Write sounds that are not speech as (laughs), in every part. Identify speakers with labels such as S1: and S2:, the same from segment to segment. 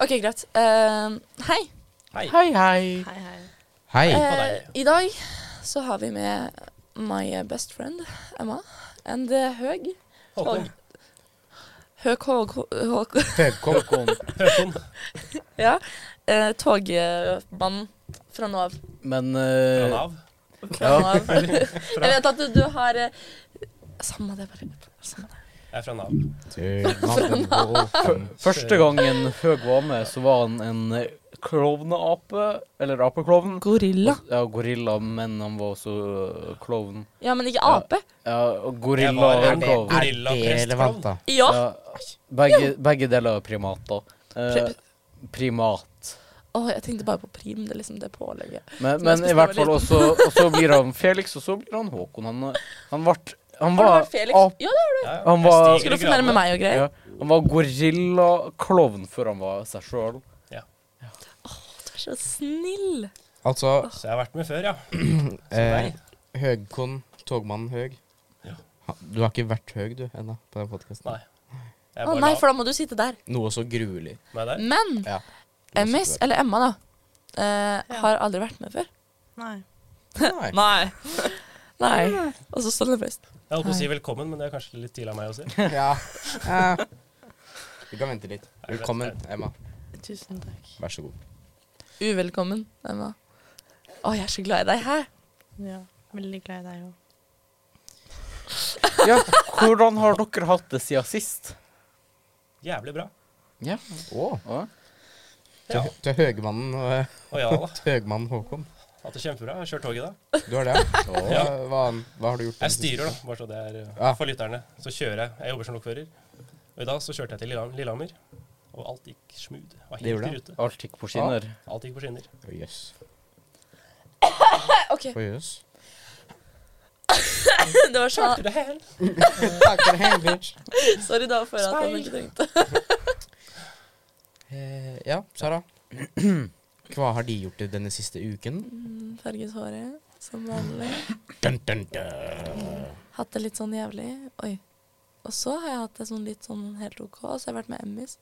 S1: Ok, greit. Eh, hei.
S2: Hei.
S3: Hei, hei.
S1: Hei, hei.
S3: Hei.
S1: Eh, I dag så har vi med my eh, best friend Emma and eh, Høg.
S2: (laughs) Håkon.
S1: Høg Håg... Håg
S3: Velkommen.
S2: Høkon.
S1: (laughs) ja. Eh, Togmann fra nå av.
S4: Men
S2: Fra
S4: eh,
S2: Nav.
S1: Fra nå av. Jeg vet at du, du har eh, Samme det, bare. Samme det.
S2: Jeg er fra Nav.
S4: f- første gangen Høg var med, så var han en eh, klovneape. Eller apeklovn.
S1: Gorilla.
S4: Ja, gorilla, men han var også eh, klovn.
S1: Ja, men ikke ape.
S4: Ja,
S2: Jeg var-
S4: og gorilla
S2: er
S4: og
S2: det-
S4: klovn.
S2: Gorilla
S3: Er det relevant, da?
S1: Ja.
S4: Ja, begge, begge deler er primater. Eh,
S1: Pri-
S4: primat.
S1: Å, jeg tenkte bare på prim. Det er liksom det pålegget. Som
S4: Men,
S1: jeg
S4: men
S1: spiste
S4: i hvert
S1: da jeg var
S4: fall også Og så blir han Felix, og så blir han Håkon. Han, han, vart, han
S1: Har du
S4: var
S1: vært Felix?
S4: ap-
S1: Ja, da
S2: Ja, ja. Jeg
S4: Han var-
S2: stiger
S1: skal
S2: i
S1: du fornærme
S2: gradene.
S1: meg og greier.
S4: Ja, han var gorilla-klovn før han var seg sjøl.
S1: Du er så snill.
S3: Altså,
S2: Så jeg har vært med før, ja.
S3: eh, Høgkon, togmannen Høg.
S2: Ja.
S3: Ha- Du har ikke vært høg, du, ennå, på den podkasten.
S2: Nei. Jeg er
S1: Å
S2: bare
S1: nei,
S2: Nav.
S1: for da må du sitte der.
S3: Noe så gruelig.
S2: Meg der.
S1: Men
S3: Ja.
S1: Emmis, eller Emma, da, eh, har aldri vært med før.
S5: Nei.
S3: Nei.
S1: Nei. (laughs) Nei. Og så står det først.
S2: Jeg holdt på å si velkommen, men det er kanskje litt tidlig av meg å si.
S3: (laughs) Ja. Eh, Vi kan vente litt.
S2: det
S3: Velkommen, Emma.
S5: Tusen takk.
S3: Vær så god.
S1: Uvelkommen, Emma. Å, jeg er så glad i deg. Hæ?
S5: Ja, veldig glad i deg òg.
S4: Ja, hvordan har dere hatt det siden sist?
S2: Jævlig bra.
S4: Ja.
S3: Å.
S4: Ja.
S2: Ja.
S3: Til, til høgmannen og eh,
S2: Og ja da.
S3: til høgmannen Håkon.
S2: Hatt det kjempebra. Jeg har kjørt tog i dag.
S3: Du har det, ja? Hva, hva, hva har du gjort?
S2: Jeg styrer, da, bare så det er eh,
S3: Ja.
S2: for lytterne. Så kjører jeg. Jeg jobber som lokfører. Og i dag så kjørte jeg til Lillehammer- Lillehammer, og alt gikk smooth. Jeg Var
S3: Det gjorde
S2: helt i rute.
S4: Alt gikk på skinner.
S2: Alt gikk på skinner.
S3: Å, Jøss.
S1: OK.
S3: Å, jøss.
S1: (laughs) Det var
S2: Kjørte
S1: sånn.
S2: det her.
S3: Takk for hang, bitch.
S1: (laughs) Sorry da for at han ikke tenkte.
S3: Eh, ja, Sara. Hva har de gjort i denne siste uken?
S1: Mm, Farget håret, som vanlig.
S3: Dun, dun, dun.
S1: Hatt det litt sånn jævlig. Oi. Og så har jeg hatt det sånn litt sånn helt OK, og så har jeg vært med Emmis.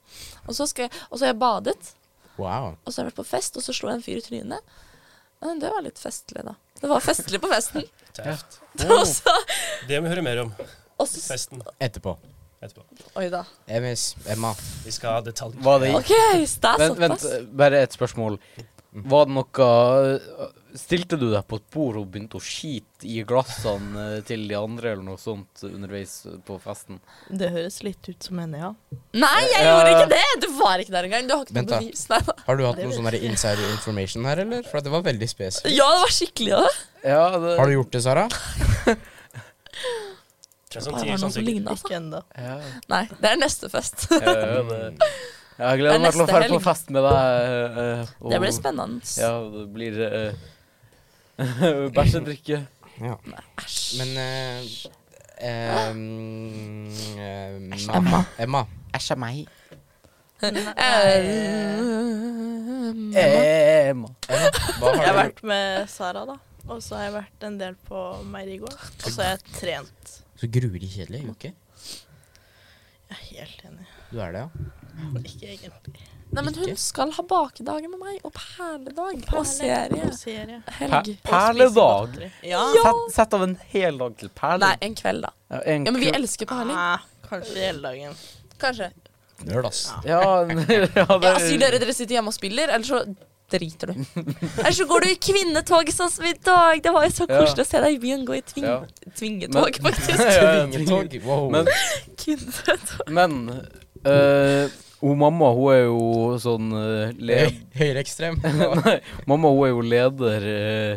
S1: Og så, skal jeg, og så har jeg badet,
S3: Wow.
S1: og så har jeg vært på fest, og så slo jeg en fyr i trynet. Men det var litt festlig, da. Det var festlig på festen. (laughs)
S2: Tøft.
S1: Og så,
S2: Det må vi høre mer om.
S1: og så
S2: Festen
S3: Etterpå.
S2: etterpå.
S1: Oi da.
S3: MS. Emma.
S2: Vi skal ha detaljer.
S4: Var det
S1: OK, stas
S4: Vent,
S1: såpass.
S4: vent, bare et spørsmål. Var det noe Stilte du deg på et bord og begynte å skite i glassene eh, til de andre, eller noe sånt, underveis på festen?
S5: Det høres litt ut som henne, ja.
S1: Nei, jeg gjorde ikke det! Du var ikke der engang. Du har ikke noe
S3: Vent da.
S1: bevis. Nei, da.
S3: Har du hatt noe sånn der insider information her, eller? For at det var veldig spesifikt.
S1: Ja, det var skikkelig ja.
S4: Ja, det,
S3: Har du gjort det, Sara?
S2: Det er
S1: Det
S2: sånn
S1: var
S2: tier
S1: noe
S2: som
S1: som
S2: sikkert.
S1: lignet, altså.
S5: Ikke (laughs) ennå.
S4: ja,
S1: Nei, det er neste fest. (laughs)
S4: ja, ja, det. Jeg gleder meg til
S1: neste
S4: å dra på
S1: helg.
S4: fest med deg. eh, eh, og-
S1: Det blir spennende.
S4: Ja, det blir eh, (laughs) bæsjedrikke.
S3: Ja.
S1: Æsj.
S3: Men eh, em, Emma. Emma.
S4: Æsj a meg.
S1: Eh,
S4: Emma.
S3: Hva
S5: Jeg har
S3: har du
S5: vært med Sara, da. Og så har jeg vært en del på Meierigård. Og så har jeg trent.
S3: Så gruelig kjedelig uke.
S5: Jeg er helt enig.
S3: Du er det, ja?
S5: Ikke egentlig.
S1: Nei, men hun
S3: Ikke?
S1: skal ha bakedager med meg, og perledag. Og serie.
S5: Og serie.
S1: Helg.
S4: Pe- Perledag.
S5: Spiser godteri. Ja.
S4: Sett, sett av en hel dag til perler.
S1: Nei, en kveld, da.
S4: Ja, en
S1: Ja, Men vi
S4: kro-
S1: elsker perling.
S5: Ah, kanskje hele dagen.
S1: Kanskje.
S3: Nerd, ass.
S4: Ja, (laughs) n- ja,
S1: Ja, Sier dere dere sitter hjemme og spiller, eller så driter du. Eller så går du i kvinnetog, sånn som i dag. Det var jo så
S4: Ja.
S1: koselig å se deg i byen gå i tving (laughs)
S4: Ja.
S1: tvingetog,
S4: Men- (laughs)
S1: faktisk.
S4: Ja,
S3: Tvingetog. Wow.
S4: Men,
S1: Kvinnetog.
S4: men eh, hun mamma, hun er jo sånn eh, led...
S3: Høy- (laughs) Høyreekstrem.
S4: Nei, mamma, hun er jo leder eh,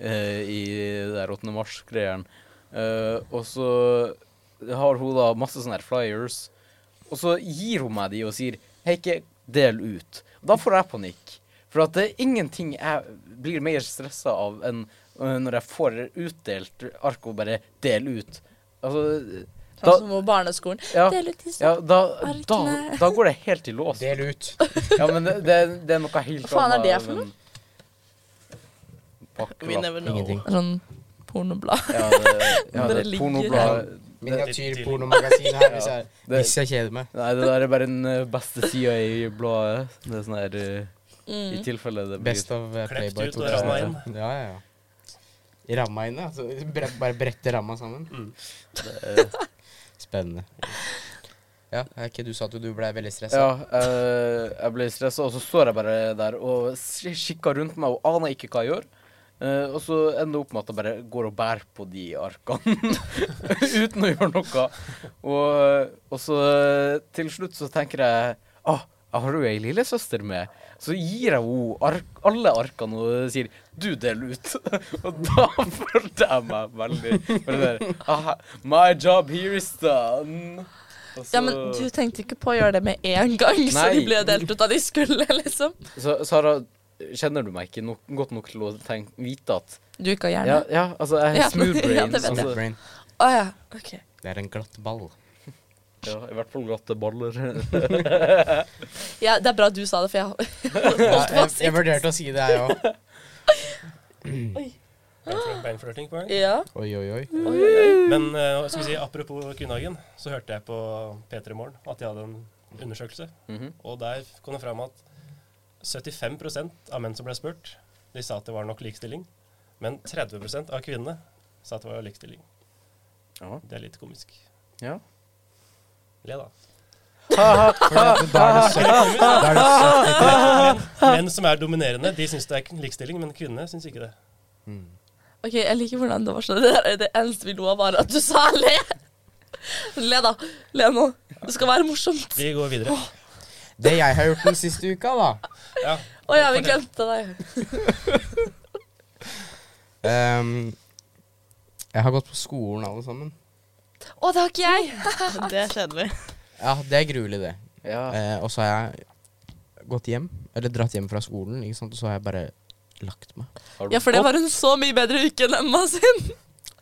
S4: eh, i det der 8. mars-greieren. Eh, og så har hun da masse sånne her flyers, og så gir hun meg de og sier Hei, ikke del ut. Da får jeg panikk. For at det er ingenting jeg blir mer stressa av enn eh, når jeg får utdelt ark og bare del ut. Altså da,
S1: Sånn som på barneskolen.
S4: ja,
S1: Del ut disse.
S4: ja, da, da,
S1: arkene.
S4: da går det helt i lås.
S3: Del ut.
S4: Ja, men det, det, det er noe helt
S1: Hva faen er det for
S4: men-
S5: We
S4: Pakkelapp.
S5: never know.
S3: Ingenting.
S1: Sånn pornoblad.
S4: Ja, det, ja,
S1: Bare
S4: det
S1: ligger
S4: pornoblad
S3: Miniatyrpornomagasin her hvis jeg,
S4: Det,
S3: hvis jeg kjeder meg.
S4: nei, det der er bare den eh, beste sida i bladet. Det er sånn her eh, I
S1: Mm.
S4: tilfelle det blir
S3: Best av eh,
S2: Klept
S3: Playboy
S2: ut og ramma inn.
S3: 2000. Ja, ja, ja. Ramma inn, ja. Så (laughs) bre bare brette ramma sammen.
S2: Mm.
S3: (laughs) Spennende. Ja, er ikke du sa at du ble veldig stressa?
S4: Ja, eh, jeg ble stressa, og så står jeg bare der og sk- kikker rundt meg og aner ikke hva jeg gjør. Eh, og så ender det opp med at jeg bare går og bærer på de arkene (laughs) uten å gjøre noe. Og, og så eh, til slutt så tenker jeg ah, jeg har jo ei lillesøster med. Så gir jeg henne ark, alle arkene og sier 'du, del ut'. (laughs) og da følte jeg meg veldig veldig der, ah, My job here is done. Og
S1: Ja, men du tenkte ikke på å gjøre det med en gang, så
S4: Nei.
S1: de ble jo delt ut da de skulle, liksom.
S4: Sa- Sara, kjenner du meg ikke nok, godt nok til å tenke, vite at
S1: Du ikke har
S4: ja,
S1: hjerne?
S4: ja, altså, jeg
S1: Ja, (laughs)
S4: er smooth
S1: ja,
S4: brain.
S1: det vet jeg.
S4: altså,
S3: Snapbrain.
S1: Å ja. OK.
S3: Det er en glatt ball.
S4: ja, I hvert fall glatte baller. (laughs)
S1: Ja, det er bra du sa det, for jeg
S3: Ja,
S1: på å
S3: jeg,
S1: si
S3: jeg vurderte å si det, jeg òg.
S2: Beinflør- Beinflørting på gang.
S1: Ja.
S3: Oi, oi, oi.
S2: Men eh, skal vi si, apropos kvinnehagen, så hørte jeg på P3 Morgen at de hadde en undersøkelse.
S4: Mhm.
S2: Og der kom det fram at 75 av menn som ble spurt, de sa at det var nok likestilling. Men 30 av kvinnene sa at det var likestilling.
S4: Ja.
S2: Det er litt komisk.
S4: Ja.
S2: Le, da.
S3: For at da er det søtt. Da er det søtt.
S2: Menn som er dominerende, de syns det er likestilling, men kvinnene syns ikke det.
S3: Mm.
S1: OK, jeg liker hvordan det var sånn. Det, der, det eneste vi lo av, var at du sa le. Le, da. Le nå. Det skal være morsomt.
S2: Vi går videre.
S3: Det jeg har gjort den siste uka, da
S2: Ja.
S1: Å ja, vi
S2: Fortell.
S1: glemte deg.
S3: Ehm, Jeg har gått på skolen, alle sammen.
S1: Å, det har ikke jeg.
S5: Det er kjedelig.
S3: Ja, det er gruelig, det.
S4: Ja.
S3: Eh, og så har jeg gått hjem, eller dratt hjem fra skolen, ikke sant? og så har jeg bare lagt meg.
S4: Har du
S1: Ja, for det
S4: gått?
S1: var en så mye bedre uke enn Emma sin.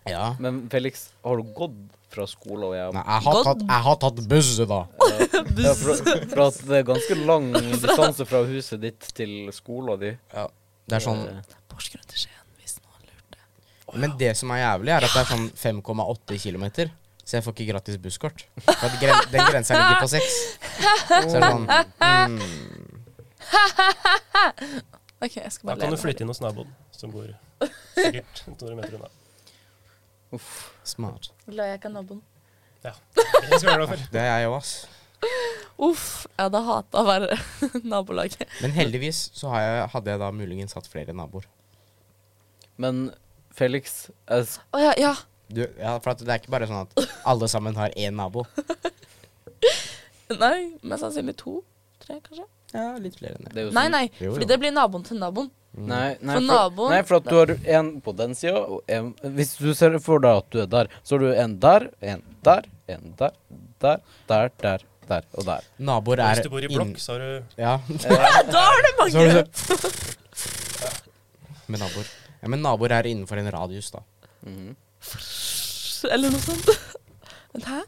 S3: Ja.
S4: Men Felix, har du gått fra skole og hjem?
S3: Nei, jeg har,
S1: Godt.
S3: tatt, jeg har tatt busse, da.
S4: Ja, for, for at det er ganske
S1: (laughs)
S4: lang distanse fra huset ditt til skolen din.
S3: Det er sånn,
S4: Eh,
S1: Porsgrunn til Skien, hvis noen lurte.
S3: men det som er jævlig, er at det er sånn 5,8 km. Så jeg får ikke gratis busskort. For at gren, den grensa ligger på 6. Så er det sånn mm,
S1: OK, jeg skal
S2: Da
S1: bare
S2: kan du
S1: le.
S2: flytte inn hos naboen, som bor sikkert 200 meter unna.
S3: Smart.
S1: La jeg ikke ha naboen.
S2: Ja. Det skal du være glad for.
S3: Det er jeg òg, ass.
S1: Uff, jeg hadde hata å være (laughs) nabolaget.
S3: Men heldigvis så har jeg, hadde jeg da muligens hatt flere naboer.
S4: Men Felix, jeg s-
S1: Å ja, ja.
S3: Du, ja, for at det er ikke bare sånn at alle sammen har én nabo.
S1: Nei, mest sannsynlig to. Tre, kanskje.
S3: Ja, litt flere enn det.
S4: det er jo
S1: Nei,
S4: sånn-
S1: nei,
S3: Jo, jo.
S1: fordi det blir naboen til naboen.
S4: Nei, nei,
S1: For naboen-
S4: Nei, for at du har en på den sida og en Hvis du ser for deg at du er der, så har du en der, en der, en der, der, der, der, der og der.
S3: Naboer
S2: Og
S3: er
S2: Hvis du bor i
S3: inn-
S2: blokk, så har du
S3: Ja,
S1: (laughs) Da er det
S3: Så har
S1: mange!
S3: du
S1: (laughs)
S3: så Med naboer. Ja, men naboer er innenfor en radius, da.
S4: Mhm.
S1: Eller noe sånt. Men hæ?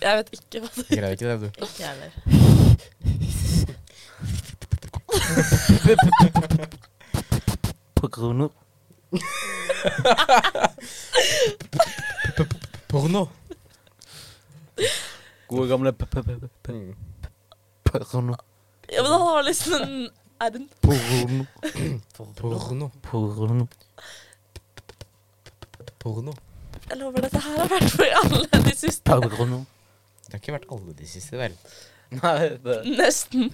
S1: Jeg vet ikke hva det
S3: Jeg greier ikke det, du.
S5: Ikke jeg heller.
S3: Porno.
S4: Gode gamle p p p p porno,
S1: Ja, men han har liksom en R-en.
S4: porno,
S3: Porno.
S4: porno.
S3: Porno.
S1: Jeg lover dette her har vært for alle de siste
S4: porno.
S3: Det har ikke vært alle de siste, vel?
S4: Nei, det
S1: Nesten.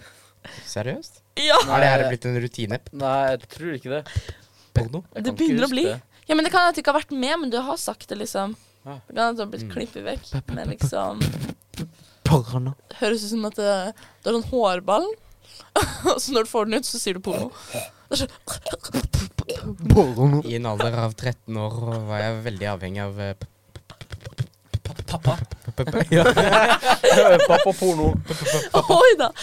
S3: Seriøst?
S1: Ja.
S3: Har det her blitt en rutine?
S4: Nei, jeg tror ikke (laughs) det.
S3: Porno?
S4: Jeg
S1: Det
S4: kan ikke
S1: begynner å
S4: huske
S1: bli.
S4: det.
S1: ja, men det kan hende at du ikke har vært med, men du har sagt det, liksom.
S4: Ja.
S1: Det kan hende at du har blitt
S3: Mm.
S1: klippet vekk. Men liksom
S4: Porno.
S1: høres ut som at det, det er sånn hårball. (laughs) Og så når du får den ut, så sier du porno. Det er sånn
S4: Porno.
S3: I en alder av 13 år var jeg veldig avhengig av eh, p-
S2: Pappa.
S3: p- p- p- ja.
S4: Pappaporno.
S1: (laughs) Oi da! (laughs)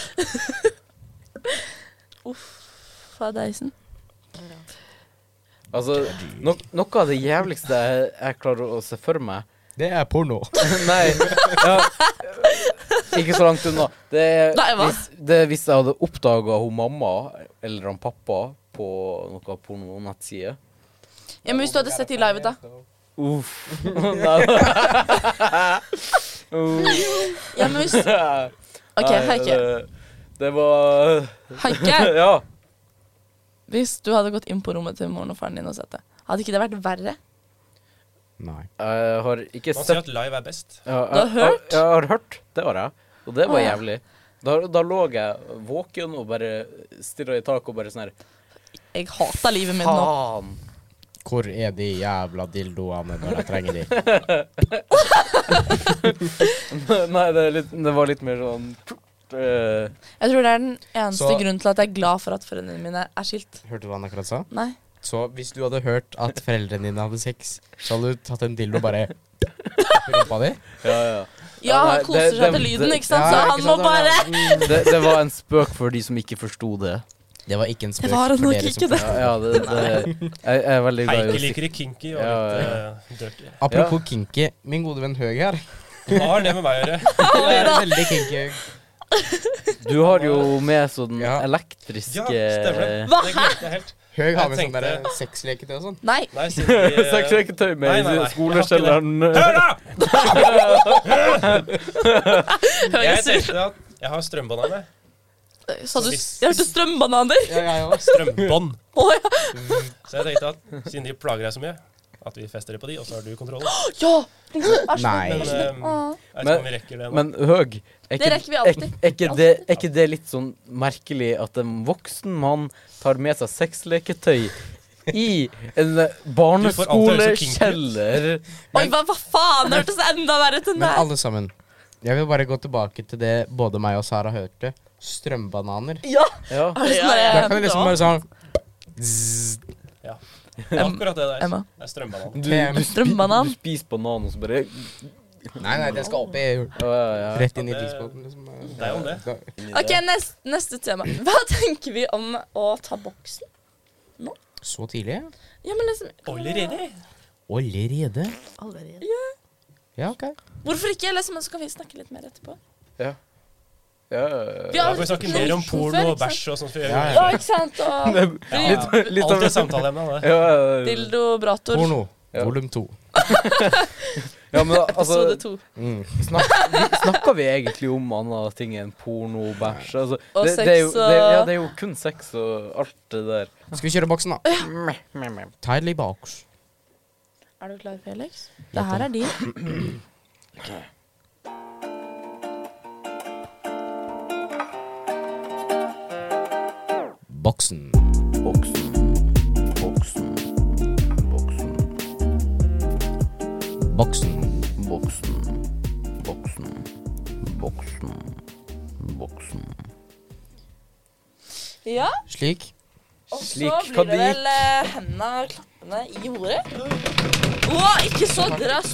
S1: Uff a deisen.
S4: Altså, no noe av det jævligste jeg, jeg klarer å se for meg, (laughs)
S3: Det er porno.
S4: Nei. Ja. Ikke så langt unna. Det er
S1: Nei, hva?
S4: hvis, det er hvis jeg hadde oppdaga hun mamma eller han pappa på noe pornonettside.
S1: Ja, men hvis du hadde sett de live, da.
S4: Uff. (laughs) Nei da. Uff.
S1: Ja, men
S4: (laughs)
S1: hvis OK,
S4: Nei,
S1: Heike.
S4: det- Det var (laughs)
S1: Heike,
S4: Ja.
S1: hvis du hadde gått inn på rommet til moren og faren din og sett det, hadde ikke det vært verre?
S3: Nei.
S4: Jeg har ikke
S2: Man sier at
S4: sett
S2: live er best.
S4: ja,
S1: Du har
S4: jeg-
S1: hørt?
S4: Jeg, jeg har hørt. Det har jeg. Og det var
S1: Ah.
S4: jævlig. Da, da lå jeg våken og bare stirra i taket og bare sånn her
S1: Jeg hater livet mitt nå.
S4: Faen! (laughs)
S3: Hvor er de jævla dildoene når jeg trenger de?
S4: Nei, det, er litt, det var litt mer sånn eh,
S1: Jeg tror det er den eneste
S3: Så-
S1: grunnen til at jeg er glad for at foreldrene mine er skilt.
S3: Hørte du hva han akkurat sa?
S1: Nei.
S3: Så hvis du hadde hørt at foreldrene dine hadde sex, så hadde du tatt en dildo og (laughs) bare opp i rumpa di?
S4: Ja, ja.
S1: Ja,
S4: nei,
S1: han koser seg
S4: det- det-
S1: til lyden,
S4: det-
S1: ikke sant? Så
S3: Ja,
S1: han må
S3: ikke sant?
S1: bare
S4: Mm, Det, det var en spøk for de som ikke forsto det.
S3: Det var ikke en spøk.
S1: Det var
S3: for
S1: nok
S3: dere som
S1: ikke det.
S3: forstår.
S4: Ja, ja det, det jeg, jeg er veldig glad i
S2: Heike
S4: å si
S2: liker det kinky og
S4: Ja,
S2: litt
S4: ja.
S2: eh, dirty.
S3: Apropos kinky. Min gode venn Høg her.
S2: Hva har det med meg å gjøre?
S3: (laughs) Jeg er veldig kinky. Høg.
S4: Du har jo med sånn
S3: Ja.
S2: Ja,
S4: elektriske
S2: stemmer
S4: (laughs)
S2: det.
S1: Hva?
S2: Det glemte jeg helt.
S3: Høg har
S2: Jeg
S3: med sånn
S2: tenkte-
S3: derre sexleketøy og sånn.
S1: Nei. (laughs)
S2: Nei, siden
S4: (laughs)
S2: vi, eh,
S4: Sekseketøy
S2: Nei,
S4: med
S2: nei, nei,
S4: skoleskjelleren.
S2: Hør, da! Jeg
S1: Høres ut.
S2: tenkte at jeg har strømbananer.
S1: Sa du s- Jeg hørte strømbananer.
S3: Ja, jeg også.
S2: Strømbånd.
S1: Å ja.
S2: (laughs) Så jeg tenkte at siden de plager deg så mye, at vi fester det på de, og så har du kontrollen.
S1: ja!
S3: Nei.
S2: Men eh, jeg vet ikke om vi rekker det nå.
S4: Men Høg, er
S1: Det
S4: ikke,
S1: rekker vi
S4: er,
S1: alltid.
S4: er, ikke det, er ikke det litt sånn merkelig at en voksen mann tar med seg sexleketøy i en barneskolekjeller?
S1: Oi, hva, hva faen? Det hørtes enda verre ut enn
S3: Men
S1: det her.
S3: alle sammen, jeg vil bare gå tilbake til det både meg og Sara hørte. Strømbananer.
S1: Ja.
S4: Ja.
S1: Er det sånn
S5: Ja,
S3: Da kan
S1: der,
S3: du liksom bare sånn Zzz.
S2: Ja. Det er akkurat det der.
S1: Emma.
S2: Det er strømbananer.
S4: Du,
S3: Tem.
S4: du, spi,
S1: Strømbanan.
S4: du spiser banan, og så bare
S3: Nei, nei, det skal opp i
S4: ja, ja, ja.
S3: Rett inn i
S2: Ja, det-
S3: dispoten, liksom.
S2: Det er jo det.
S3: Da-
S1: Ok, neste, neste tema. (laughs) Hva tenker vi om å ta boksen?
S3: Så tidlig?
S1: Ja, men liksom,
S2: Allerede?
S3: Allerede?
S5: Allerede.
S3: Ja, ok.
S1: Hvorfor ikke? Liksom, så kan vi snakke litt mer etterpå.
S4: ja,
S1: Vi
S4: ja.
S2: Da får vi snakke mer om
S1: Hvorfor,
S2: porno og
S1: ikke sant?
S2: bæsj og sånt. som vi
S3: Ja,
S1: Ja,
S2: gjør.
S1: ikke sant?
S4: (laughs)
S1: Og
S2: Ja,
S4: Litt, litt
S2: Alt
S4: av
S2: er samtaleemne. det.
S4: ja, ja, ja.
S1: dildo, brator.
S3: Porno,
S4: Ja.
S3: volum to.
S4: ja, men
S1: Episode
S4: altså
S1: to.
S3: Mm.
S4: snak, vi- Snakker vi egentlig om andre ting enn porno og bæsj? Altså,
S1: Og
S4: det, det, er jo,
S1: sex og-
S4: det, ja, det er jo kun sex og alt det der.
S3: Skal vi kjøre boksen, da? Tidlig boks.
S1: Er du klar, Felix? Det her er din.
S3: Boksen.
S4: Boksen, boksen, boksen,
S3: Boksen.
S4: boksen, boksen, boksen, boksen.
S1: Ja,
S3: Slik.
S1: og så
S4: Slik kan
S1: blir
S4: det
S1: det
S4: gikk.
S1: vel eh, hendene og klappene i hodet. Å, ikke så drass.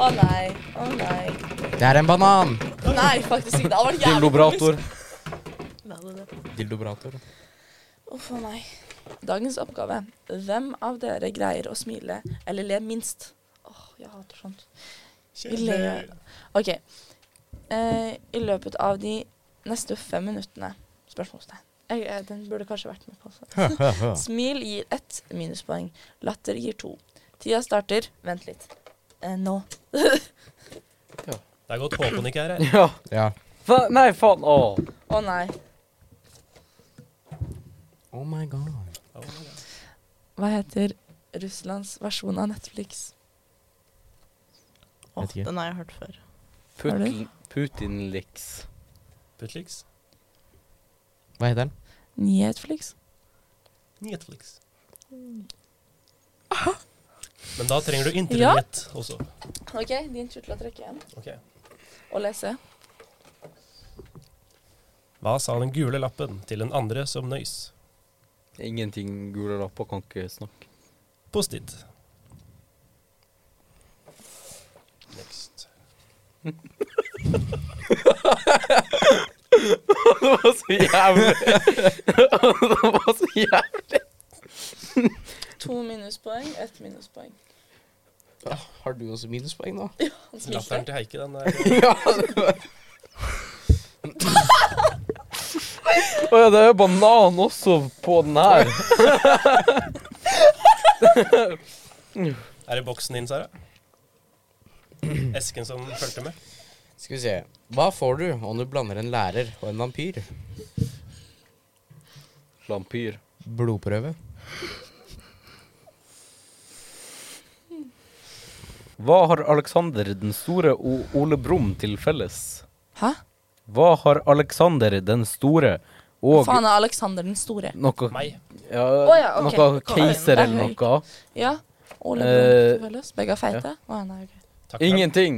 S1: Å nei. Å nei.
S3: Det er en banan!
S1: Nei, faktisk ikke. Det hadde vært jævlig
S4: Dildobrator.
S5: Hva er det?
S3: Dildobrator.
S1: Uff a meg. Dagens oppgave. Hvem av dere greier å smile eller le minst? Åh, jeg hater sånt. Vi ler. OK. Eh, I løpet av de neste fem minuttene Spørsmålstegn. Jeg, jeg, den burde kanskje vært med på. Også.
S4: (laughs)
S1: Smil gir ett minuspoeng. Latter gir to. Tida starter Vent litt. Eh, nå.
S2: Det er godt Håkon ikke er her.
S4: (laughs) Ja.
S3: Ja.
S4: Fa nei, faen. Å.
S1: Å nei.
S3: Oh my god.
S1: Hva heter Russlands versjon av Netflix?
S5: Åh,
S3: Vet ikke.
S5: den har jeg hørt før.
S1: Har du?
S4: Putin, Putin-liks.
S2: Putlix.
S3: Hva heter den?
S1: Nyhetflix?
S2: Netflix. Men da trenger du internett også.
S1: OK, din tur til å trekke igjen
S2: Ok.
S1: og lese.
S2: Hva sa den gule lappen til den andre som nøys?
S4: Ingenting gule lapper kan ikke snakke.
S2: Post-it. Next.
S4: (laughs) Det var så jævlig. (laughs) det var så jævlig.
S1: To minuspoeng, ett minuspoeng.
S3: Har du også minuspoeng (laughs) nå?
S1: Han smilte.
S2: Latteren til Heike, den er
S3: ja, det var-
S4: Å ja, det er jo banan (laughs) også på den her.
S2: Er det boksen din, Sara? Esken som fulgte med?
S3: Skal vi se. Hva får du om du blander en lærer og en vampyr?
S4: Lampyr.
S3: Blodprøve.
S4: Hva har Alexander den store og Ole Brumm til felles?
S1: Hæ?
S4: Hva har Alexander den store
S1: Hva
S4: og
S1: faen er Alexander den store?
S4: noe
S2: Meg.
S4: ja,
S1: Å ja, ok.
S4: Noe keiser
S1: Kom
S4: eller
S1: igjen.
S4: noe?
S1: Ja. Ole
S4: Eh,
S1: Brumm, selvfølgelig. Begge er feite. Å, nei, ok.
S2: Takk for det.
S4: Ingenting.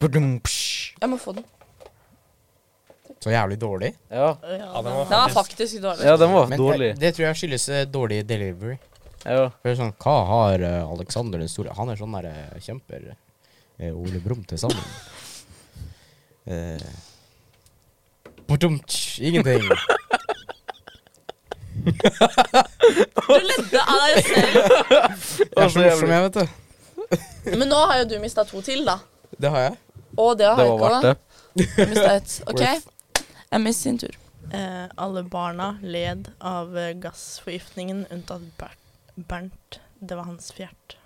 S4: Badum, psh.
S1: Jeg må få den.
S3: Så jævlig dårlig.
S4: Ja.
S2: Ja, den var
S1: Den er
S2: faktisk
S1: faktisk dårlig.
S4: ja, den var
S3: Men
S4: dårlig.
S3: Jeg, det tror jeg skyldes eh, dårlig delivery.
S4: Ja.
S3: For det er sånn, Hva har eh, Alexander den store Han er sånn der eh, kjemper eh, Ole Brumm til sammen. Eh, badumtsch, (laughs) ingenting.
S1: Du ledde av deg selv.
S3: Jeg er så morsom, jeg, vet du.
S1: Men nå har jo du mista to til, da.
S3: Det har jeg.
S1: Og det har
S4: Det var
S1: Haika.
S4: verdt det.
S1: Jeg mistet ett.
S4: (laughs)
S1: OK. Emmis sin tur.
S5: Eh, alle barna led av eh, gassforgiftningen, unntatt Ber Bernt. Det var hans fjert.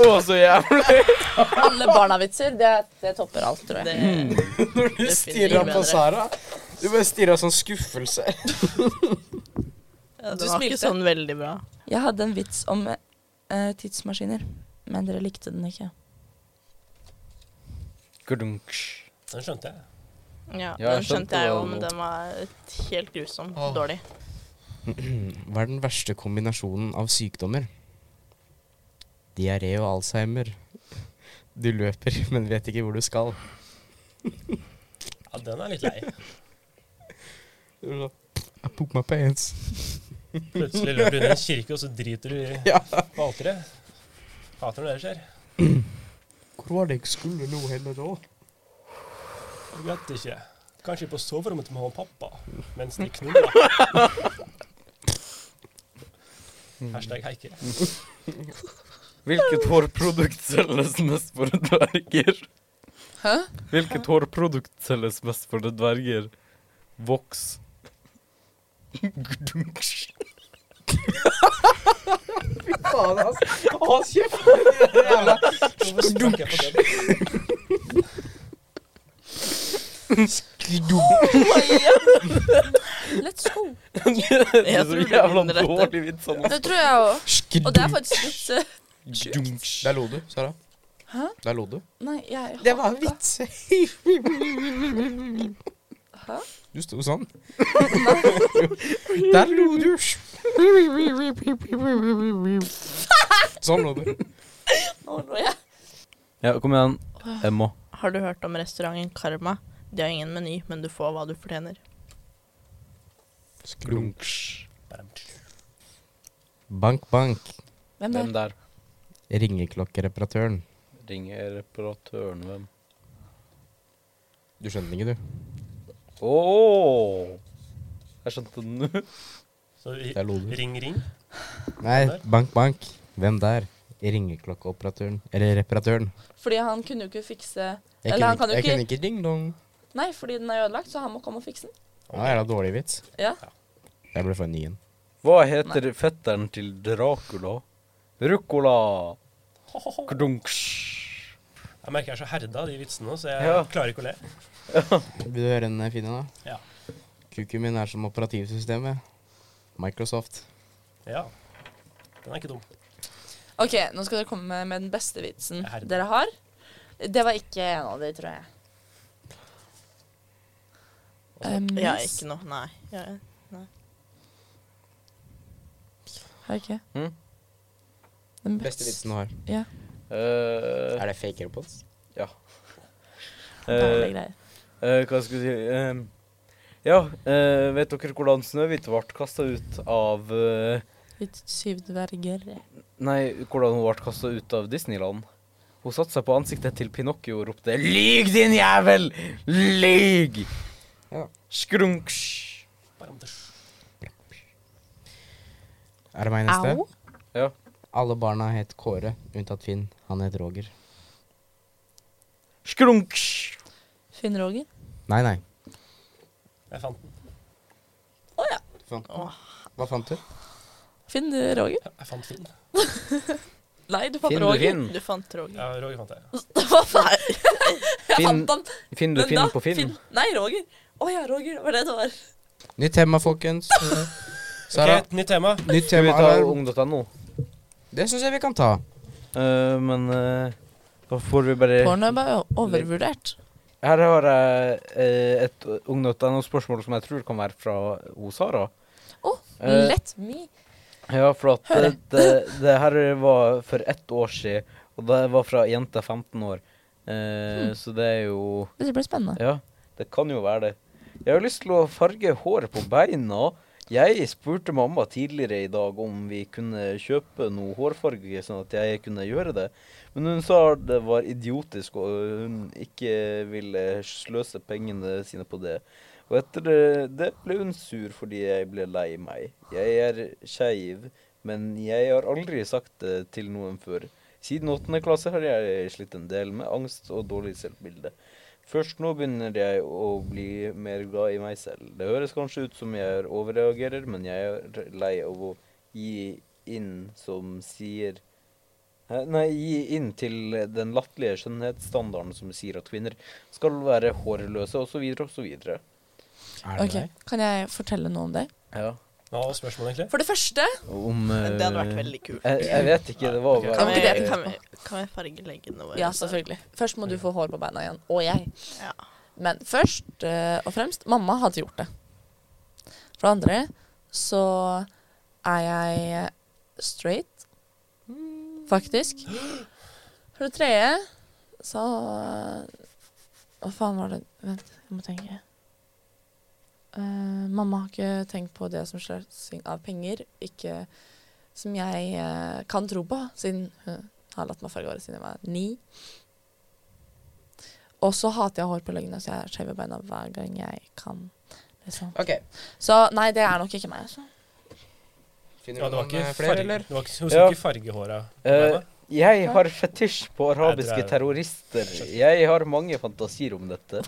S4: Å, så jævlig.
S1: Alle barna-vitser, det, det topper alt, tror
S5: Det,
S1: jeg.
S3: (laughs) Når du
S5: Det finner
S3: stirra
S5: ingen
S3: på
S5: bedre.
S3: Sara Du bare stirra sånn skuffelse.
S5: det
S1: Du
S5: var
S1: smilte.
S5: ikke sånn veldig bra.
S1: Jeg hadde en vits om eh, tidsmaskiner, men dere likte den ikke.
S4: Gudunk.
S2: Den skjønte jeg.
S5: Ja,
S4: Ja, jeg
S5: Den skjønte
S4: skjønte
S5: jeg jo,
S4: det
S5: men
S4: nå.
S5: den var helt grusom.
S3: Åh.
S5: Dårlig.
S3: (clears throat) Hva er den verste kombinasjonen av sykdommer? Diaré og alzheimer. Du løper, (laughs) men vet ikke hvor du skal.
S2: Ja, den er litt lei.
S3: I poop my pants.
S2: Plutselig løper du inn i en kirke, og så driter du i
S3: Ja.
S2: på alteret. Hater når det skjer.
S3: Hvor var det jeg skulle nå henne da?
S2: Jeg vet ikke. Kanskje på soverommet til mamma og pappa mens de knuller. Hashtag heike.
S4: Hvilket hårprodukt selges mest for dverger?
S1: Hæ?
S4: Hvilket hårprodukt selges mest for dverger? Voks.
S3: (laughs)
S4: Gudunk.
S3: Faen, altså. Hold kjeft!
S2: Hvorfor stakk jeg på den?
S1: Let's go.
S4: Det er så
S5: Jeg tror det
S4: jævla
S5: vinner dette.
S4: dårlig vits. altså. han.
S1: Det tror jeg òg. Og det er
S3: Skidunk.
S1: faktisk litt eh,
S4: Gudunk.
S3: Der lo du, Sara.
S1: Hæ?
S3: Der lo du.
S1: Nei, jeg
S3: Det var en vits.
S1: (laughs) Hæ?
S3: Du sto
S1: (laughs)
S3: sånn. Der lo du. Sånn lo du.
S1: Nå lo jeg.
S4: Ja, kom igjen, Emma.
S5: Har du hørt om restauranten Karma? De har ingen meny, men du får hva du fortjener.
S3: Skrunk.
S2: Bare-
S3: Bank, bank.
S1: Hvem
S4: Hvem
S1: der?
S4: der?
S3: Ringeklokkereparatøren.
S4: Ringer reparatøren, hvem?
S3: Du skjønner ikke, du.
S4: Å! Jeg skjønte den (laughs) nå.
S2: Så i-
S3: Der lo du.
S2: ring, ring.
S3: Nei, bank, bank. Hvem der? Ringeklokkeoperatøren. Eller reparatøren.
S1: Fordi han kunne jo ikke fikse
S3: Jeg
S1: Eller han kan jo
S3: kunne jeg
S1: ikke-
S3: kunne ikke ding-dong.
S1: Nei, fordi den er ødelagt, så han må komme og fikse den.
S3: Ja, er det dårlig vits?
S1: Ja.
S3: Jeg ble for en ny en.
S4: Hva heter fetteren til Dracula? Rucola. Gudunk.
S2: Jeg merker jeg er så herda av de vitsene nå, så jeg
S4: Ja.
S2: klarer ikke å le.
S3: Vil du høre en eh, fin en, da?
S2: Ja.
S3: Kuken min er som operativsystemet. Microsoft.
S2: ja. Den er ikke dum.
S1: OK, nå skal dere komme med den beste vitsen
S2: Jeg er herre.
S1: dere har. Det var ikke en av de, tror jeg. Um,
S5: Ja, ikke noe. Nei. Ja,
S4: Mm.
S1: Den
S3: Beste vitsen du har.
S1: Ja.
S4: Eh,
S3: Er det fake airpods?
S4: ja.
S1: dårlige
S4: Eh,
S1: greier.
S4: eh, hva skal jeg si Eh, Ja, eh, vet dere hvordan Snøhvit ble kasta ut av eh,
S1: Litt syv dverger.
S4: Nei, hvordan hun ble kasta ut av Disneyland? Hun satte seg på ansiktet til Pinocchio og ropte 'Lyg, din jævel! Lyg!'
S3: Ja.
S4: Skrunks.
S2: Bare om det-
S3: Er det meg neste?
S1: Au.
S4: Ja.
S3: Alle barna het Kåre, unntatt Finn. Han het Roger.
S4: Skrunks.
S1: Finn Roger.
S3: Nei, nei.
S2: Jeg fant den.
S3: Fant. Hva fant du?
S1: Finn du Roger?
S2: Jeg fant Finn.
S1: Nei, du fant
S4: Finn, du
S1: Roger. (laughs)
S4: Finn.
S5: Du fant Roger.
S2: Ja, Roger fant jeg.
S1: Hva faen? (laughs) Jeg
S4: Finn,
S1: fant han.
S4: Finn du
S1: Men
S4: Finn
S1: da-
S4: på Finn?
S1: Nei, Roger. Å ja, Roger. Det var det det var.
S3: Nytt
S2: (laughs)
S3: tema, folkens.
S2: Ok,
S3: Sara,
S2: et nytt tema.
S3: nytt
S4: Skal vi
S3: tema.
S4: ta
S3: Alarm.
S4: ung.no?
S3: Det syns jeg vi kan ta.
S4: Eh, men eh, da får vi bare
S1: Porno er bare overvurdert.
S4: Her har jeg eh, et ung.no-spørsmål som jeg tror kan være fra O. Sara.
S1: Å,
S4: Eh,
S1: let me.
S4: Ja, for at
S1: Hør
S4: det, det, det her var for ett år siden, og det var fra ei jente 15 år. Eh, Så det er jo
S1: Det blir spennende.
S4: Ja, det kan jo være det. Jeg har lyst til å farge håret på beina. Jeg spurte mamma tidligere i dag om vi kunne kjøpe noe hårfarge, sånn at jeg kunne gjøre det. Men hun sa det var idiotisk, og hun ikke ville sløse pengene sine på det. Og etter det- det ble hun sur fordi jeg ble lei meg. Jeg er skeiv, men jeg har aldri sagt det til noen før. Siden åttende klasse har jeg slitt en del med angst og dårlig selvbilde. Først nå begynner jeg å bli mer glad i meg selv. Det høres kanskje ut som jeg overreagerer, men jeg er lei av å gi inn som sier Hæ? Nei, gi inn til den latterlige skjønnhetsstandarden som sier at kvinner skal være hårløse osv. osv.
S3: Er det
S1: Ok,
S3: deg?
S1: Kan jeg fortelle noe om det?
S4: Ja.
S2: Hva var spørsmålet, egentlig?
S1: For det første
S4: Om
S5: Det hadde vært veldig kult.
S4: Jeg, jeg vet ikke. Det var
S2: Nei, ok.
S1: eh, Kan
S5: Kan
S1: vi
S5: vi,
S1: ikke det
S5: kan vi,
S1: etterpå?
S5: kan vi fargelegge noe?
S1: Ja, selvfølgelig. Først må du få hår på beina igjen. Og jeg.
S5: Ja.
S1: Men først eh, og fremst mamma hadde gjort det. For det andre så er jeg straight, faktisk. For det tredje så Hva faen var det Vent, jeg må tenke. Eh, mamma har ikke tenkt på det som sløsing av penger. Ikke som jeg eh, kan tro på, siden hun har latt meg farge håret siden jeg var ni. Og så hater jeg hårpåleggene, så jeg skjever beina hver gang jeg kan. Liksom.
S3: Ok.
S1: Så nei, det er nok ikke meg. Altså.
S3: Finner
S2: Ja,
S3: du
S2: det var ikke
S3: noen eh, flere,
S2: farge-
S3: eller?
S2: Det var ikke, hun
S4: Ja.
S2: skulle ikke farge håra.
S4: Eh,
S2: Nei,
S4: Jeg har fetisj på arabiske
S2: Jeg drar.
S4: terrorister. Jeg har mange fantasier om dette.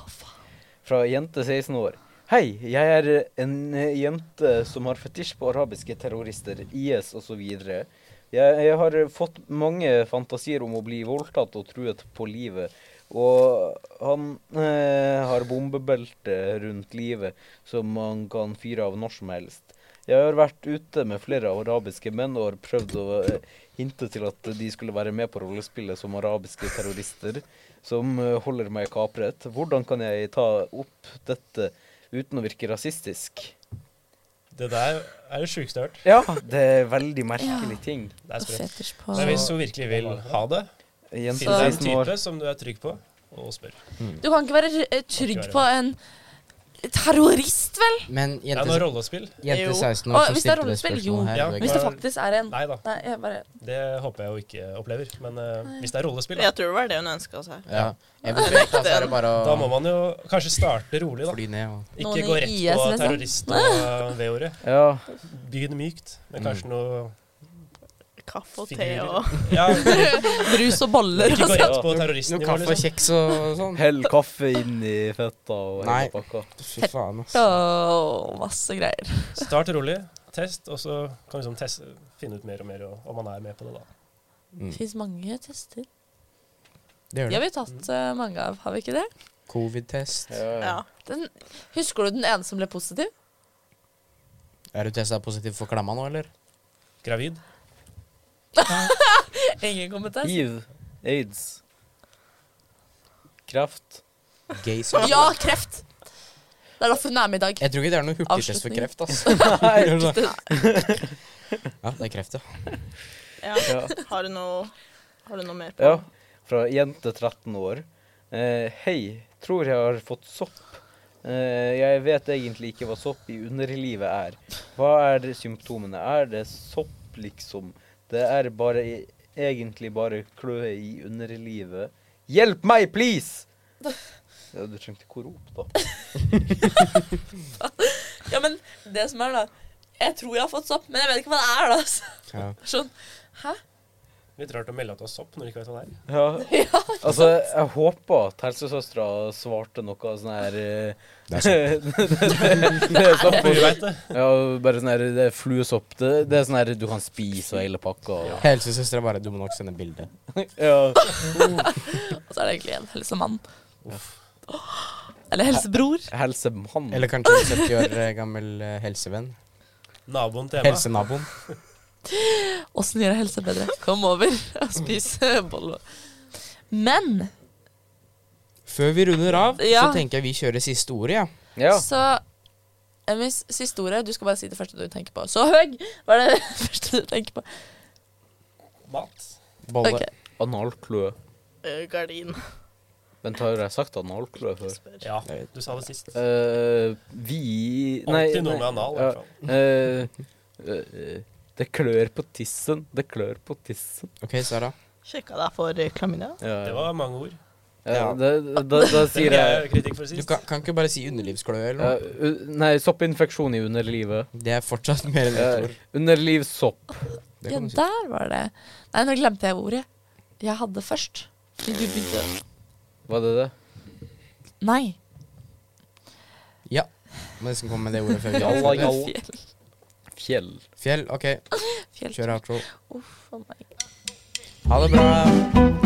S4: Fra jente 16 år. Hei, jeg er en eh, jente som har fetisj på arabiske terrorister, IS osv. Jeg, jeg har fått mange fantasier om å bli voldtatt og truet på livet. Og han eh, har bombebelte rundt livet som man kan fyre av når som helst. Jeg har vært ute med flere arabiske menn og har prøvd å eh, hinte til at de skulle være med på rollespillet som arabiske terrorister som eh, holder meg kapret. Hvordan kan jeg ta opp dette uten å virke rasistisk?
S2: Det der er det sjukeste jeg har hørt.
S4: Ja, det er veldig merkelig ting.
S2: Det er
S1: Og
S2: sprøtt.
S1: fetisj på
S2: Men hvis hun virkelig vil ha det,
S4: Jente
S2: finn deg en
S4: 16 år.
S2: type som du er trygg på, og spør.
S1: Du kan ikke være eh, trygg på en terrorist, vel?
S3: Men
S2: Det er
S3: jente,
S2: noe rollespill.
S3: jente
S5: Jo.
S3: 16
S1: Å,
S3: år
S1: hvis det
S3: som
S1: er
S3: stilte det
S1: rollespill, jo.
S3: spørsmålet
S2: Ja.
S3: her.
S1: Hvis
S3: Vegard.
S1: det faktisk er en
S2: Nei da,
S1: Nei, jeg bare
S2: det håper jeg hun ikke opplever. Men eh, hvis det er rollespill, da,
S5: Jeg tror det var det hun ønska seg.
S3: Ja. Eventuelt da, så er det bare
S2: da
S3: å
S2: må man jo kanskje starte rolig, da.
S3: fly ned og
S1: Noen i
S2: Ikke gå rett
S1: IS,
S2: på
S1: liksom.
S2: terrorist
S1: (laughs)
S2: og V-ordet.
S4: Ja,
S2: Begynn mykt, men kanskje noe
S5: Kaffe og te
S2: Figurer.
S5: og
S2: (laughs) Ja,
S1: (laughs)
S2: ikke
S1: Brus og boller
S2: gå
S1: og
S2: rett på
S3: Noe
S2: terroristnivå,
S3: kaffe og
S2: liksom.
S3: kjeks og sånn.
S4: hell kaffe inn i fetta og
S3: Nei.
S4: hele pakka.
S3: Fy faen, ass.
S1: og masse greier.
S2: Start rolig, test, og så kan du liksom teste, finne ut mer og mer og- om man er med på det, da.
S1: Det fins mange tester.
S3: Mm. Det
S1: De
S3: gjør
S1: har
S3: det.
S1: vi tatt eh, mange av, har vi ikke det?
S3: Covid-test.
S4: Ja.
S5: Ja.
S1: Den, husker du den ene som ble positiv?
S3: Er du testa positiv for klemma nå, eller?
S2: Gravid.
S1: Ingen kommentar.
S4: Hiv, aids, kreft.
S3: Gay
S1: Ja, kreft! Det er derfor hun er med i dag.
S3: Jeg tror ikke det er noen hurtigtest for
S1: Avslutning.
S3: kreft, ass. (laughs)
S4: Nei.
S3: Ja, det er kreft, ja.
S5: Ja.
S4: Ja.
S5: Har du noe Har du noe mer på?
S4: Ja, fra jente 13 år. Eh, hei, tror jeg har fått sopp. Eh, jeg vet egentlig ikke hva sopp i underlivet er. Hva er det symptomene? Er det sopp, liksom? Det er bare e- egentlig bare kløe i underlivet. Hjelp meg, please! Ja, du trengte ikke å rope, da.
S1: Ja, men det som er, da Jeg tror jeg har fått sopp, men jeg vet ikke hva det er, da. altså.
S3: ja.
S1: Sånn. Hæ?
S2: Vi Litt rart å melde at du har sopp når du ikke vet hva det er.
S4: Ja. (laughs) Altså, jeg håpa at helsesøstera svarte noe sånn her eh, (laughs)
S3: Det er
S4: Det er sånn
S2: Du
S4: på-
S2: vet det.
S4: Ja, bare sånn her Det er fluesopp. Det, det er sånn her du kan spise og hele pakka. Og,
S3: Helsesøstera bare Du må nok sende bilde.
S4: ja.
S1: Og så er det egentlig en helsemann. Eller helsebror.
S4: (laughs) Helsemann.
S3: Eller kanskje en 70 år eh, gammel eh, helsevenn.
S2: Naboen til Emma.
S3: Helsenaboen.
S1: Åssen gjør jeg helse bedre? Kom over og spis bolle. Men
S3: Før vi runder av, så
S1: Ja.
S3: tenker jeg vi kjører siste ordet, ja.
S4: Ja.
S1: så Emmys siste ordet Du skal bare si det første du tenker på. Så høy var det (laughs) første du tenker på.
S2: Mat.
S3: Bolle.
S1: Ok.
S4: Analkløe.
S5: Eh, Gardin.
S4: Vent, har jeg sagt analkløe før?
S5: Spør.
S2: Ja, du sa det sist.
S4: Eh, vi Nei.
S2: Alltid noe
S4: nei.
S2: med anal. i
S4: Ja.
S2: hvert fall.
S4: Eh, eh, det klør på tissen. Det klør på tissen.
S3: Ok, Sara.
S5: Sjekka deg for eh, klamydia.
S4: Ja. eh,
S2: Det var mange ord.
S4: Ja, det, da,
S2: (laughs)
S4: da
S2: Det fikk
S4: sier
S2: jeg
S4: jeg
S2: kritikk for
S3: Du
S2: sist.
S3: kan, kan ikke bare si underlivskløe eller
S4: ja,
S3: noe?
S4: u- Nei, soppinfeksjon i underlivet.
S3: Det er fortsatt mer enn ett
S4: Eh,
S3: ord.
S4: underlivssopp.
S3: Det
S1: Ja,
S3: kan du si.
S1: der var det. Nei, nå glemte jeg ordet. Jeg hadde først. Du begynte
S4: Var det det?
S1: Nei.
S3: Ja. Må nesten komme med det ordet før vi
S4: Jalla,
S3: avslutter.
S4: jalla. Fjell.
S3: Fjell, ok.
S1: Fjell.
S3: Kjør outro.
S1: Uff a meg.
S3: Ha det bra.